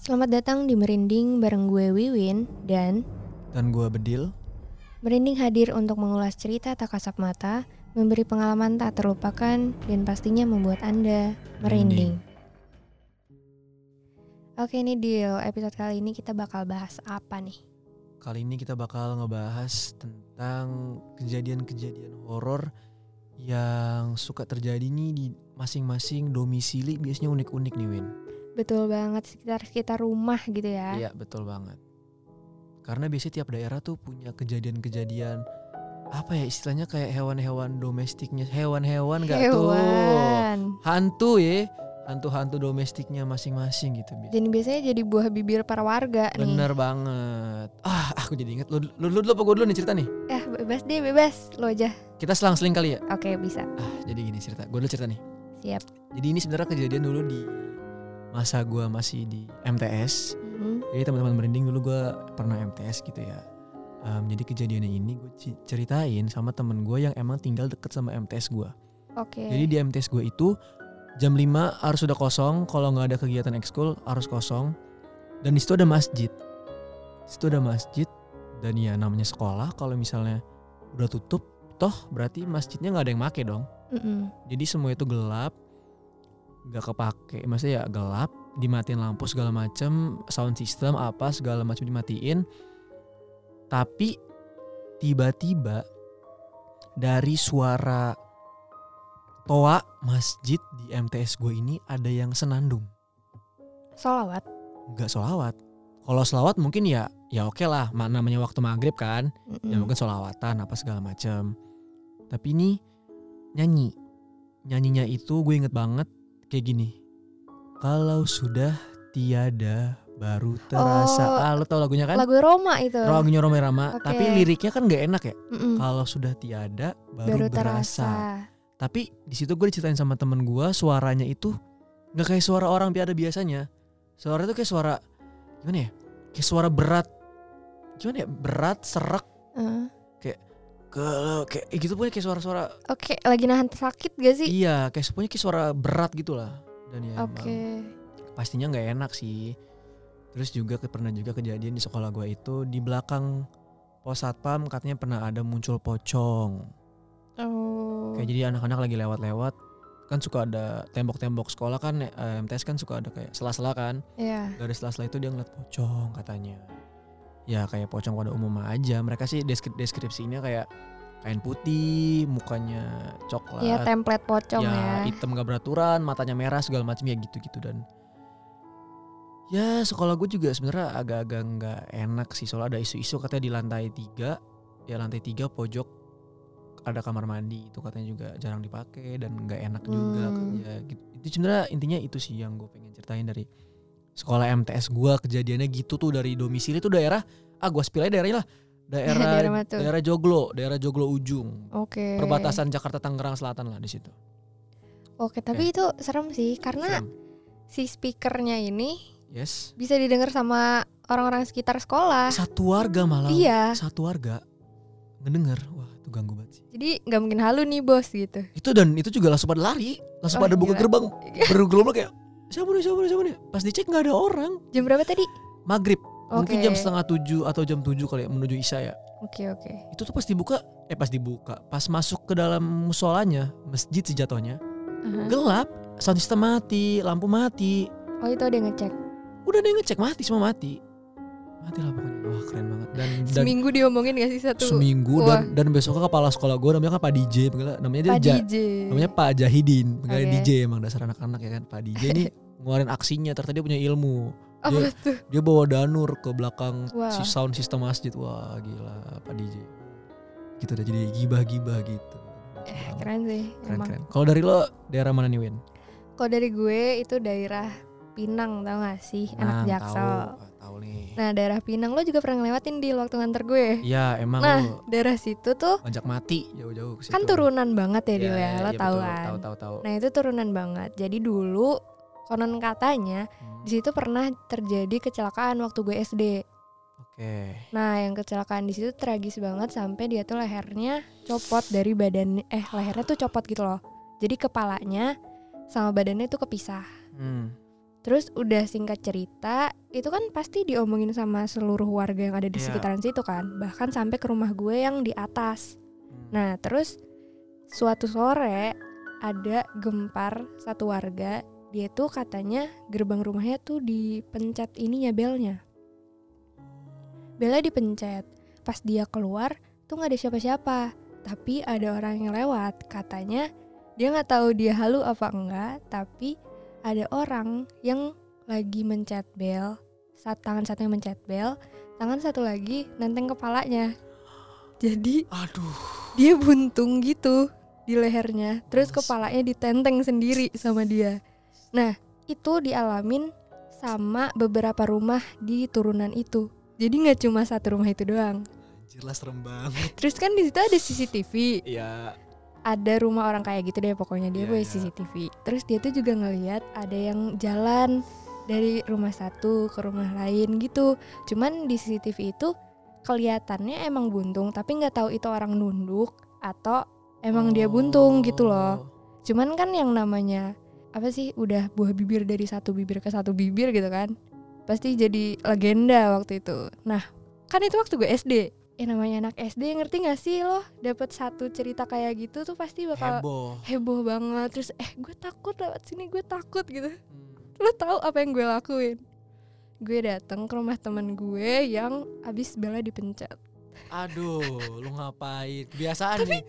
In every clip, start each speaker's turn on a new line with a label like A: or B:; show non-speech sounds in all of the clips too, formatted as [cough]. A: Selamat datang di Merinding bareng gue Wiwin dan
B: Dan gue Bedil
A: Merinding hadir untuk mengulas cerita tak kasat mata, memberi pengalaman tak terlupakan, dan pastinya membuat Anda merinding. Oke nih Dil, episode kali ini kita bakal bahas apa nih?
B: Kali ini kita bakal ngebahas tentang kejadian-kejadian horor yang suka terjadi nih di masing-masing domisili biasanya unik-unik nih Win.
A: Betul banget, sekitar-sekitar rumah gitu ya.
B: Iya betul banget. Karena biasanya tiap daerah tuh punya kejadian-kejadian apa ya istilahnya kayak hewan-hewan domestiknya hewan-hewan gak tuh
A: Hewan.
B: hantu ya hantu-hantu domestiknya masing-masing gitu biasanya.
A: Dan biasanya jadi buah bibir para warga nih.
B: Bener banget. Ah, aku jadi inget. Lu, lu, lu, lu apa gue dulu nih cerita nih?
A: Eh, bebas deh, bebas. Lo aja.
B: Kita selang-seling kali ya?
A: Oke, bisa.
B: Ah, jadi gini cerita. Gue dulu cerita nih.
A: Siap.
B: Jadi ini sebenarnya kejadian dulu di masa gue masih di MTS.
A: Mhm.
B: Jadi teman-teman merinding dulu gue pernah MTS gitu ya. Em, jadi kejadiannya ini gue ci- ceritain sama temen gue yang emang tinggal deket sama MTS gue.
A: Oke.
B: Jadi di MTS gue itu jam 5 harus sudah kosong. Kalau nggak ada kegiatan ekskul harus kosong. Dan di situ ada masjid. Di situ ada masjid dan ya namanya sekolah kalau misalnya udah tutup toh berarti masjidnya nggak ada yang make dong
A: Mhm.
B: jadi semua itu gelap nggak kepake maksudnya ya gelap dimatiin lampu segala macem sound system apa segala macam dimatiin tapi tiba-tiba dari suara toa masjid di MTS gue ini ada yang senandung
A: Solawat.
B: nggak solawat kalau solawat mungkin ya ya oke lah ma- namanya waktu maghrib kan ya
A: Mhm.
B: mungkin solawatan apa segala macam tapi ini nyanyi nyanyinya itu gue inget banget kayak gini kalau sudah tiada baru terasa
A: Oh,
B: ah, lo tau lagunya kan
A: Lagu Roma itu.
B: lagunya Roma Rama
A: Oke.
B: tapi liriknya kan nggak enak ya
A: Mm-mm.
B: kalau sudah tiada
A: baru
B: baru, berasa
A: terasa.
B: tapi di situ gue diceritain sama temen gue suaranya itu nggak kayak suara orang tiada biasanya suara itu kayak suara gimana ya kayak suara berat gimana ya berat serak
A: Eh,
B: kalau kayak eh, gitu punya kayak suara-suara
A: Oke, lagi nahan sakit gak sih?
B: iya kayak punya kayak suara berat gitu lah dan ya
A: Oke.
B: emang pastinya nggak enak sih terus juga ke- pernah juga kejadian di sekolah gue itu di belakang pos satpam katanya pernah ada muncul pocong
A: Oh.
B: kayak gitu. jadi anak-anak lagi lewat-lewat kan suka ada tembok-tembok sekolah kan eh, MTS kan suka ada kayak sela-sela kan
A: Iya.
B: dari sela-sela itu dia ngeliat pocong katanya ya kayak pocong pada umumnya aja mereka sih deskri- deskripsinya kayak kain putih mukanya coklat
A: Iya, template pocong
B: ya,
A: ya.
B: hitam gak beraturan matanya merah segala macam ya gitu gitu dan ya sekolah gue juga sebenarnya agak-agak nggak enak sih soalnya ada isu-isu katanya di lantai tiga ya lantai tiga pojok ada kamar mandi itu katanya juga jarang dipakai dan nggak enak juga
A: Hmm.
B: ya gitu. itu sebenarnya intinya itu sih yang gue pengen ceritain dari sekolah MTS gue kejadiannya gitu tuh dari domisili tuh daerah ah gue spill
A: [laughs]
B: aja daerahnya lah daerah
A: Daerah mana tuh?
B: daerah Joglo daerah Joglo Ujung
A: Oke.
B: perbatasan Jakarta Tangerang Selatan lah di situ
A: Oke, tapi itu serem sih karena
B: Iya. Serem.
A: si speakernya ini
B: Yes.
A: bisa didengar sama orang-orang sekitar sekolah.
B: Satu warga malah.
A: Ah. Iya.
B: Satu warga ngedenger. Wah, itu ganggu banget sih.
A: Jadi nggak mungkin halu nih bos gitu.
B: Itu dan itu juga langsung pada lari, langsung
A: Wah,
B: pada buka
A: gila.
B: gerbang,
A: Iya.
B: bergerombol kayak siapa nih, siapa nih, siapa nih. Pas dicek nggak ada orang.
A: Jam berapa tadi?
B: Maghrib, mungkin
A: Oke.
B: jam setengah tujuh atau jam tujuh kali ya, menuju isya ya.
A: Oke, oke.
B: Itu tuh pas dibuka, eh pas dibuka, pas masuk ke dalam musolanya, masjid sih jatuhnya,
A: Aha.
B: gelap, sound system mati, lampu mati,
A: Oh, itu ada yang ngecek.
B: udah deh ngecek mati semua mati, mati lah pokoknya. Wah keren banget dan dan
A: Seminggu diomongin gak sih satu
B: seminggu
A: Wah.
B: dan dan besoknya kepala sekolah gue namanya kan Pak DJ panggilan- namanya dia
A: Pak
B: Ja-
A: DJ.
B: namanya Pak Jahidin pegawai
A: Oke.
B: DJ emang dasar anak-anak ya kan Pak DJ
A: [laughs]
B: ini ngeluarin aksinya ternyata dia punya ilmu
A: Apa
B: dia-
A: tuh?
B: dia bawa danur ke belakang
A: Wah.
B: si sound system masjid wah gila Pak DJ gitu udah jadi gibah-gibah gitu
A: Eh, [laughs] keren sih.
B: keren
A: emang.
B: keren kalau dari lo daerah mana nih Win
A: Kalau dari gue itu daerah Pinang tau gak sih anak
B: Nah,
A: Jaksel.
B: tahu Wah, tahu nih
A: Nah daerah Pinang lo juga pernah ngelewatin di waktu nganter gue.
B: iya emang
A: Nah
B: lo
A: daerah situ tuh
B: ngajak mati jauh-jauh ke
A: kan
B: situ.
A: turunan banget ya
B: Iya,
A: Dil ya,
B: iya,
A: lo
B: iya,
A: tau
B: betul.
A: kan.
B: tahu tahu tahu
A: Nah itu turunan banget. Jadi dulu konon katanya
B: Hmm,
A: di situ pernah terjadi kecelakaan waktu gue SD.
B: oke
A: Nah yang kecelakaan di situ tragis banget sampai dia tuh lehernya copot dari badan eh lehernya tuh copot gitu loh. Jadi kepalanya sama badannya tuh kepisah.
B: Hmm.
A: Terus udah singkat cerita itu kan pasti diomongin sama seluruh warga yang ada di
B: Iya.
A: sekitaran situ kan bahkan sampai ke rumah gue yang di atas
B: Hmm.
A: nah terus suatu sore ada gempar satu warga dia tuh katanya gerbang rumahnya tuh dipencet ininya belnya belnya dipencet pas dia keluar tuh nggak ada siapa-siapa tapi ada orang yang lewat katanya dia nggak tahu dia halu apa enggak tapi ada orang yang lagi mencet bel saat tangan satu yang mencet bel tangan satu lagi nenteng kepalanya jadi
B: aduh
A: [laughs] dia buntung gitu di lehernya terus
B: Terus?
A: kepalanya ditenteng sendiri sama dia nah itu dialamin sama beberapa rumah di turunan itu jadi nggak cuma satu rumah itu doang
B: jelas serem [laughs] banget
A: terus kan di situ ada CCTV
B: ya
A: ada rumah orang kaya gitu deh pokoknya dia
B: Iya,
A: punya
B: iya.
A: CCTV terus dia tuh juga ngeliat ada yang jalan dari rumah satu ke rumah lain gitu cuman di CCTV itu kelihatannya emang buntung tapi nggak tahu itu orang nunduk atau emang
B: Oh.
A: dia buntung gitu loh cuman kan yang namanya apa sih udah buah bibir dari satu bibir ke satu bibir gitu kan pasti jadi legenda waktu itu nah kan itu waktu gue SD ya namanya anak SD ngerti gak sih loh dapat satu cerita kayak gitu tuh pasti bakal
B: Oh, heboh
A: heboh banget terus eh gue takut lewat sini gue takut gitu lo tahu apa yang gue lakuin gue datang ke rumah temen gue yang abis bela dipencet
B: aduh lu ngapain kebiasaan nih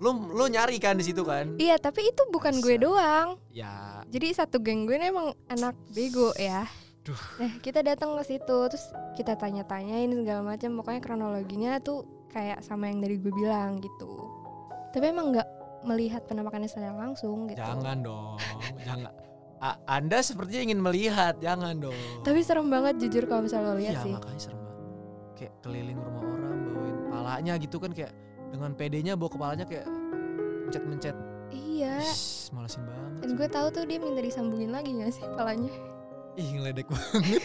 B: lu lu nyari kan di situ kan
A: iya tapi itu bukan gue
B: Dasar.
A: doang
B: ya
A: Jadi satu geng gue ini emang anak bego ya.
B: Duh.
A: Nah kita datang ke situ terus kita tanya-tanyain segala macam. Pokoknya kronologinya tuh kayak sama yang dari gue bilang gitu. Tapi emang nggak melihat penampakannya secara langsung gitu.
B: jangan dong jangan A- anda sepertinya ingin melihat jangan dong
A: Tapi serem banget jujur kalau misalnya lo lihat
B: iya
A: sih.
B: makanya serem banget kayak keliling rumah orang bawain palanya gitu kan kayak dengan pedenya bawa kepalanya kayak mencet mencet
A: Iya.
B: Ish, malesin banget
A: Dan gue tahu tuh dia minta disambungin lagi gak sih
B: [laughs]
A: palanya.
B: ih ngeledek banget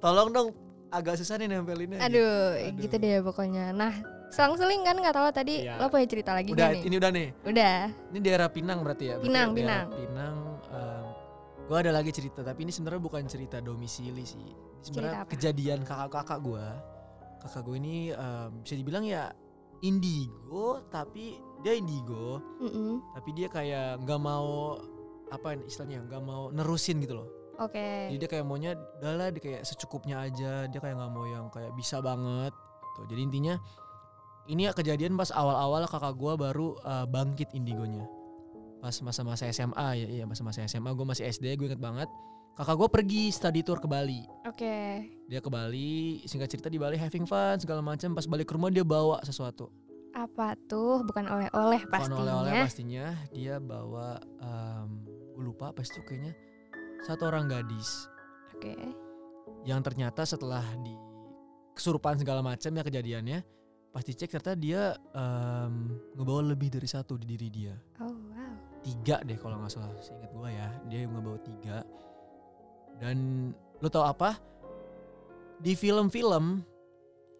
B: tolong dong agak susah nih nempelinnya gitu.
A: Aduh,
B: Aduh.
A: gitu deh pokoknya. Nah selang-seling kan nggak tahu tadi
B: Iya.
A: lo punya cerita lagi gak
B: udah
A: nih?
B: ini udah nih
A: Udah.
B: ini daerah Pinang berarti ya Berarti
A: Pinang,
B: daerah Pinang gue ada lagi cerita tapi ini sebenarnya bukan cerita domisili sih Ini sebenarnya
A: Cerita apa?
B: kejadian kakak-kakak gue kakak gue ini em, bisa dibilang ya indigo tapi dia indigo
A: Mm-mm.
B: tapi dia kayak nggak mau apa istilahnya nggak mau nerusin gitu loh
A: Oke.
B: jadi dia kayak maunya udahlah dia kayak secukupnya aja dia kayak nggak mau yang kayak bisa banget tuh jadi intinya ini ya kejadian pas awal-awal kakak gua baru eh, bangkit indigonya pas masa-masa SMA ya iya masa-masa SMA gue masih SD gue inget banget kakak gua pergi study tour ke Bali
A: Oke.
B: dia ke Bali singkat cerita di Bali having fun segala macam pas balik ke rumah dia bawa sesuatu
A: apa tuh bukan oleh-oleh
B: Bukan
A: pastinya
B: oleh-oleh pastinya dia bawa em gue lupa pas itu kayaknya satu orang gadis
A: oke
B: yang ternyata setelah di kesurupan segala macam ya kejadiannya pasti cek ternyata dia em, ngebawa lebih dari satu di diri dia
A: oh wow
B: tiga deh kalau nggak salah seingat gue ya dia ngebawa tiga dan lo tau apa di film-film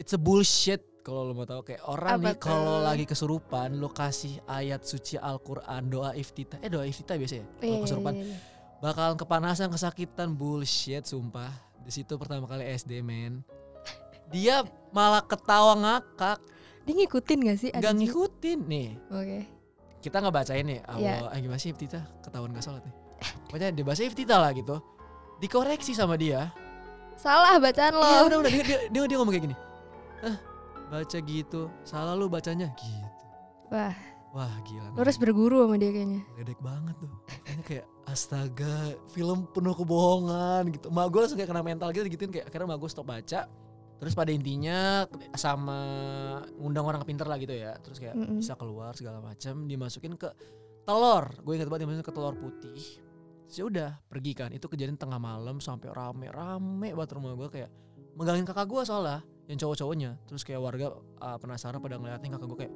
B: it's a bullshit kalau lo mau tahu kayak orang
A: Apa
B: nih kalau
A: tuh?
B: lagi kesurupan lo kasih ayat suci Al-Quran doa iftitah eh doa iftitah biasanya ya kalau
A: Iya,
B: kesurupan
A: iya, iya.
B: bakalan kepanasan kesakitan bullshit sumpah di situ pertama kali SD men dia malah ketawa ngakak
A: dia ngikutin gak sih
B: nggak
A: adiknya?
B: ngikutin nih
A: oke
B: kita nggak bacain nih Allah eh, gimana sih Iftita ketahuan nggak sholat nih pokoknya dia bahasa Iftita lah gitu dikoreksi sama dia
A: salah bacaan lo
B: Iya udah udah dia, dia, dia, dia ngomong kayak gini ah baca gitu salah lu bacanya gitu
A: wah
B: wah gila
A: lo harus berguru sama dia kayaknya
B: ledek banget tuh makanya kayak astaga film penuh kebohongan gitu mak gue langsung kayak kena mental gitu gituin kayak akhirnya mak gue stop baca terus pada intinya sama ngundang orang pinter lah gitu ya terus kayak
A: Mm-mm.
B: bisa keluar segala macam dimasukin ke telur gue ingat banget dimasukin ke telur putih terus ya udah pergi kan itu kejadian tengah malam sampai rame rame banget rumah gue kayak megangin kakak gue soalnya yang cowok-cowoknya terus kayak warga uh, penasaran pada ngeliatin kakak gue kayak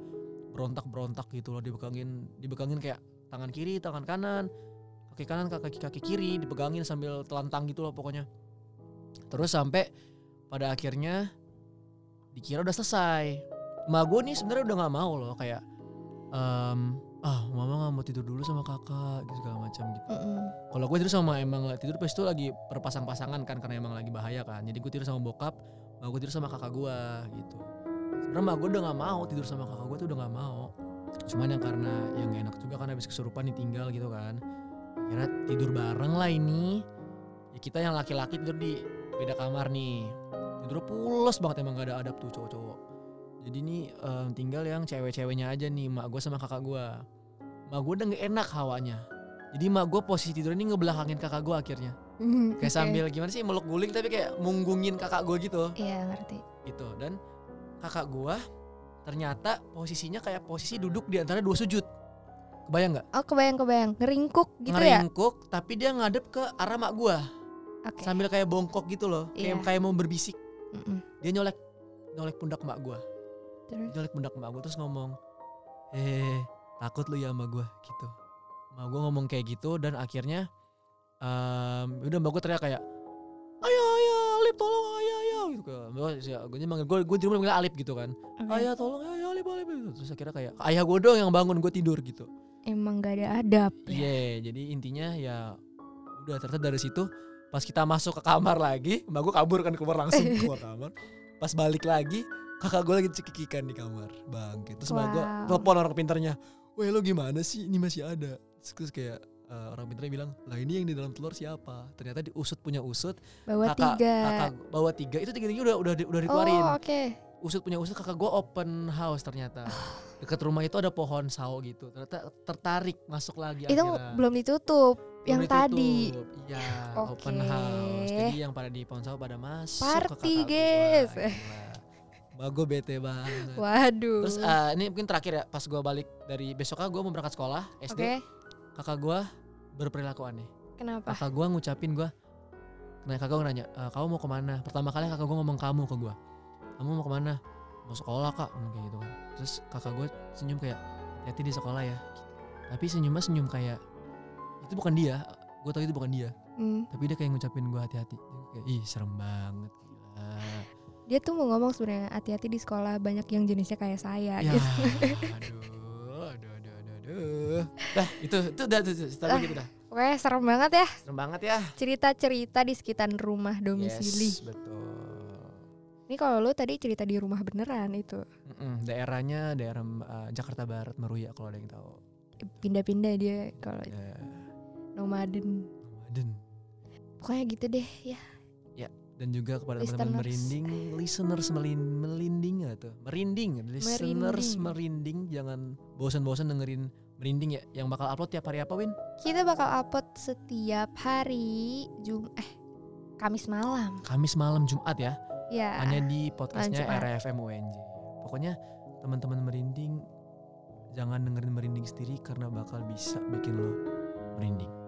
B: berontak berontak gitu loh dibegangin dibegangin kayak tangan kiri tangan kanan kaki kanan kaki kaki kiri dipegangin sambil telentang gitu loh pokoknya terus sampai pada akhirnya dikira udah selesai Ma gue nih sebenarnya udah nggak mau loh kayak em, ah mama nggak mau tidur dulu sama kakak gitu segala macam gitu
A: Mm-mm.
B: kalau gue tidur sama emang lagi tidur pas itu lagi perpasang-pasangan kan karena emang lagi bahaya kan jadi gue tidur sama bokap mau gue tidur sama kakak gue gitu sebenarnya mak gue udah nggak mau tidur sama kakak gue tuh udah nggak mau cuman yang karena yang gak enak juga kan habis kesurupan ditinggal gitu kan akhirnya tidur bareng lah ini ya kita yang laki-laki tidur di beda kamar nih tidur pules banget emang gak ada adab tuh cowok-cowok jadi nih em, tinggal yang cewek-ceweknya aja nih mak gue sama kakak gue mak gue udah gak enak hawanya jadi mak gue posisi tidur ini ngebelakangin kakak gue akhirnya
A: Mm,
B: kayak
A: oke.
B: sambil gimana sih meluk guling tapi kayak munggungin kakak gue gitu
A: Iya ngerti.
B: gitu dan kakak gua ternyata posisinya kayak posisi duduk di antara dua sujud kebayang nggak
A: Oh kebayang kebayang ngeringkuk gitu ya.
B: ngeringkuk tapi dia ngadep ke arah mak gua
A: Oke.
B: sambil kayak bongkok gitu loh
A: Iya.
B: kayak kayak mau berbisik
A: Mm-mm.
B: dia nyolek nyolek pundak mak gua
A: Terus.
B: nyolek pundak mak gua terus ngomong eh takut lu ya sama gua gitu mak gua ngomong kayak gitu dan akhirnya em, ya udah mak gua teriak kayak ayo ayo Alip tolong ayo ayo gitu gue manggil gue gue di rumah manggil Alip gitu kan
A: Oke.
B: ayah tolong ayah alip alip alip." terus akhirnya kayak ayah gue doang yang bangun gue tidur gitu
A: Emang gak ada adab. ya?
B: iya jadi intinya ya udah ternyata dari situ pas kita masuk ke kamar lagi mbak gue kabur kan keluar
A: [laughs]
B: langsung keluar kamar pas balik lagi kakak gue lagi cekikikan di kamar bangkit terus mbak gue
A: Wow.
B: telepon orang pintarnya weh lo gimana sih ini masih ada terus, terus kayak eh, orang pintarnya bilang lah ini yang di dalam telur siapa ternyata diusut punya usut
A: Bawa
B: kakak
A: tiga.
B: kakak bawa tiga itu tiga tiga udah udah di- udah
A: oh
B: dikeluarin
A: oke.
B: usut punya usut kakak gue open house ternyata
A: Ah.
B: deket rumah itu ada pohon sawo gitu ternyata tertarik masuk
A: Itu
B: lagi akhirnya.
A: belum ditutup.
B: Belum
A: yang
B: ditutup.
A: tadi.
B: iya
A: Oke.
B: open house jadi yang pada di pohon sawo pada masuk
A: Party,
B: ke kakak
A: guys.
B: gua, gila. Wah, gue bete banget
A: Waduh.
B: terus eh, ini mungkin terakhir ya pas gue balik dari besoknya gue mau berangkat sekolah
A: oke.
B: SD kakak gue berperilaku aneh
A: Kenapa?
B: kakak gue ngucapin gue nah kakak gue nanya "Eh, kamu mau kemana pertama kali kakak gue ngomong kamu ke gue kamu mau kemana mau sekolah kak ngomong kayak gitu kan terus kakak gue senyum kayak hati di sekolah ya tapi senyumnya senyum kayak itu bukan dia gue tau itu bukan dia
A: Hmm.
B: tapi dia kayak ngucapin gue hati-hati Dia kayak ih serem banget gila."
A: Dia tuh mau ngomong sebenarnya hati-hati di sekolah banyak yang jenisnya kayak saya.
B: ya
A: Gitu.
B: aduh aduh aduh aduh aduh dah itu itu dah itu, itu, tapi
A: Ah.
B: gitu dah
A: Weh serem banget ya
B: serem banget ya
A: cerita-cerita di sekitar rumah domisili.
B: yes betul
A: Ini kalau lu tadi cerita di rumah beneran itu
B: Mm-mm, daerahnya daerah uh, Jakarta Barat Meruya kalau ada yang tahu.
A: pindah-pindah dia kalau
B: Ya,
A: nomaden.
B: dan
A: Pokoknya gitu deh ya.
B: dan juga kepada
A: Listeners.
B: teman-teman merinding, listeners melin- melinding nggak tuh, merinding, listeners
A: Merinding.
B: merinding, jangan bosan-bosan dengerin merinding ya, yang bakal upload tiap hari apa Win?
A: Kita bakal upload setiap hari Jum eh Kamis malam.
B: Kamis malam Jumat ya,
A: Ya.
B: hanya di podcastnya
A: Jumat.
B: RFM UNJ. Pokoknya teman-teman merinding, jangan dengerin merinding sendiri karena bakal bisa bikin lo merinding.